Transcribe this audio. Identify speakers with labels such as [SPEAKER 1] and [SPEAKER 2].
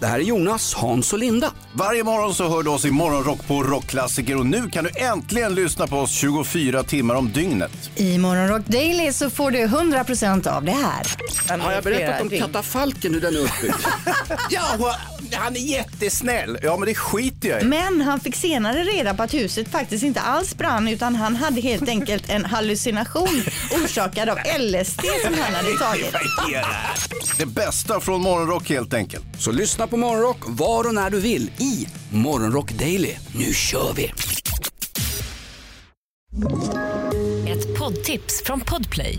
[SPEAKER 1] Det här är Jonas, Hans och Linda.
[SPEAKER 2] Varje morgon så hör du oss i Morgonrock på Rockklassiker och nu kan du äntligen lyssna på oss 24 timmar om dygnet.
[SPEAKER 3] I Morgonrock Daily så får du 100% av det här.
[SPEAKER 1] Har jag berättat om katafalken hur den är uppbyggd?
[SPEAKER 2] Ja, han är jättesnäll. Ja, men det skiter jag i.
[SPEAKER 3] Men han fick senare reda på att huset faktiskt inte alls brann utan han hade helt enkelt en hallucination orsakad av LSD som han hade tagit.
[SPEAKER 2] Det bästa från Morgonrock helt enkelt.
[SPEAKER 1] Så lyssna på Morgonrock var och när du vill i Morgonrock Daily. Nu kör vi!
[SPEAKER 4] Ett poddtips från Podplay.